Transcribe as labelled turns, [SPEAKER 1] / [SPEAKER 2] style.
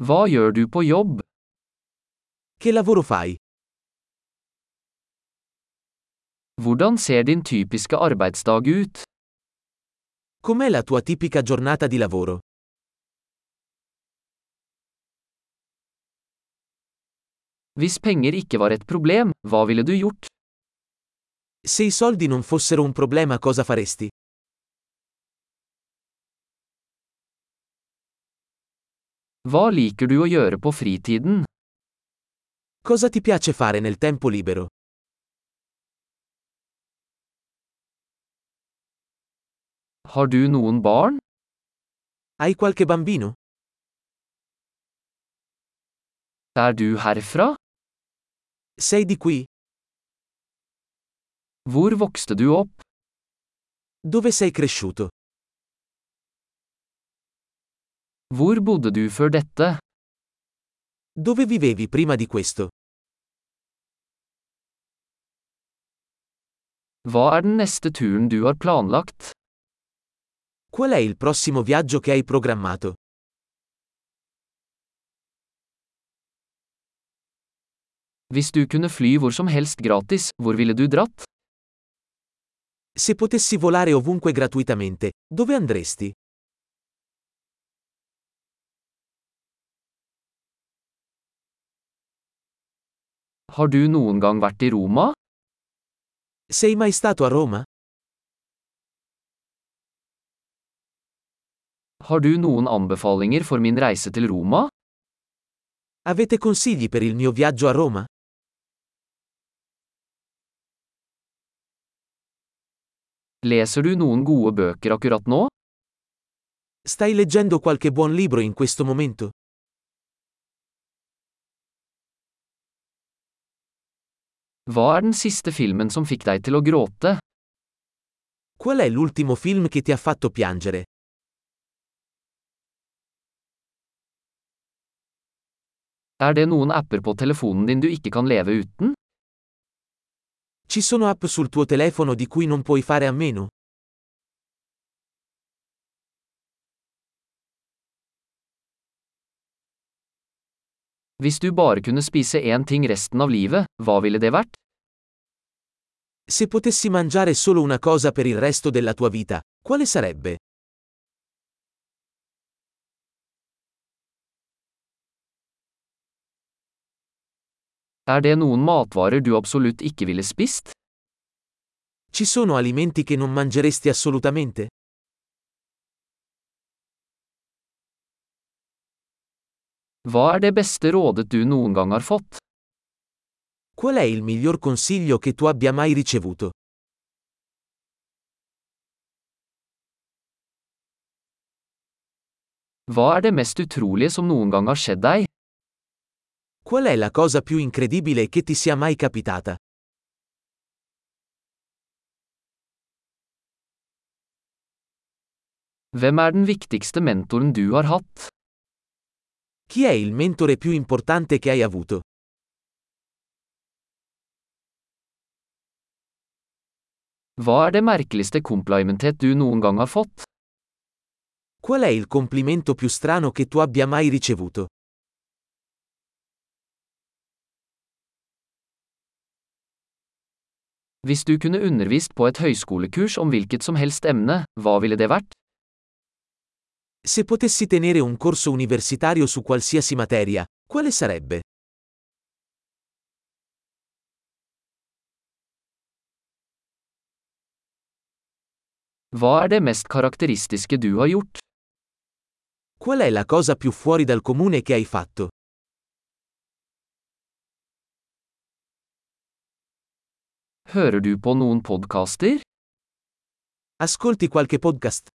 [SPEAKER 1] Hva gjør du på jobb?
[SPEAKER 2] Che lavoro fai?
[SPEAKER 1] Hvordan ser din typiske arbeidsdag ut?
[SPEAKER 2] Com'è la tua tipica giornata di lavoro?
[SPEAKER 1] Hvis penger ikke var et problem, hva ville du gjort?
[SPEAKER 2] Se i soldi non fossero un problema cosa faresti?
[SPEAKER 1] Hva liker du å gjøre på fritiden?
[SPEAKER 2] Cosa ti piace fare nel tempo libero?
[SPEAKER 1] Har du noen barn?
[SPEAKER 2] Hai qualche bambino?
[SPEAKER 1] Er du herfra?
[SPEAKER 2] Sei di qui?
[SPEAKER 1] Hvor vokste du opp?
[SPEAKER 2] Dove sei cresciuto?
[SPEAKER 1] Hvor bodde du før dette?
[SPEAKER 2] Dove vivevi prima di questo?
[SPEAKER 1] Hva er den neste turen du har planlagt?
[SPEAKER 2] Qual è il prossimo viaggio che hai programmato?
[SPEAKER 1] Hvis du kunne fly hvor som helst gratis, hvor ville du dratt?
[SPEAKER 2] Se potessi volare ovunque gratuitamente, dove andresti?
[SPEAKER 1] Har du noen gang vært i Roma?
[SPEAKER 2] Sei mai stato a Roma?
[SPEAKER 1] Har du noen anbefalinger for min reise til Roma?
[SPEAKER 2] Avete consigli per il mio viaggio a Roma?
[SPEAKER 1] Leser du noen gode bøker akkurat nå?
[SPEAKER 2] Stai leggendo qualche buon libro in questo momento?
[SPEAKER 1] Hva er den siste filmen som fikk deg til å gråte?
[SPEAKER 2] Qual è l'ultimo film che ti ha fatto piangere?
[SPEAKER 1] Er det noen apper på telefonen din du ikke kan leve uten?
[SPEAKER 2] Ci sono app sul tuo telefono di cui non puoi fare a meno?
[SPEAKER 1] Hvis du bare kunne spise én ting resten av livet, hva ville det vært?
[SPEAKER 2] Se potessi mangiare solo una cosa per il resto della tua vita, quale sarebbe?
[SPEAKER 1] Er det noen matvarer du absolutt ikke ville spist?
[SPEAKER 2] Ci sono alimenti che non mangeresti assolutamente?
[SPEAKER 1] Hva er det beste rådet du noen gang har fått?
[SPEAKER 2] Qual è il miglior consiglio che tu abbia mai ricevuto?
[SPEAKER 1] Hva er det mest utrolige som noen gang har skjedd deg?
[SPEAKER 2] Qual è la cosa più incredibile che ti sia mai capitata?
[SPEAKER 1] Hvem er den viktigste mentoren du har hatt?
[SPEAKER 2] Chi è il mentore più importante che hai avuto?
[SPEAKER 1] Hva er det merkeligste komplimentet du noen gang har fått?
[SPEAKER 2] Qual è il complimento più strano che tu abbia mai ricevuto?
[SPEAKER 1] Hvis du kunne undervist på et høyskolekurs om hvilket som helst emne, hva ville det vært?
[SPEAKER 2] Se potessi tenere un corso universitario su qualsiasi materia, quale sarebbe?
[SPEAKER 1] Hva er det mest karakteristiske du har gjort?
[SPEAKER 2] Qual è la cosa più fuori dal comune che hai fatto?
[SPEAKER 1] Hører du på noen podkaster?
[SPEAKER 2] Ascolti qualche podcast?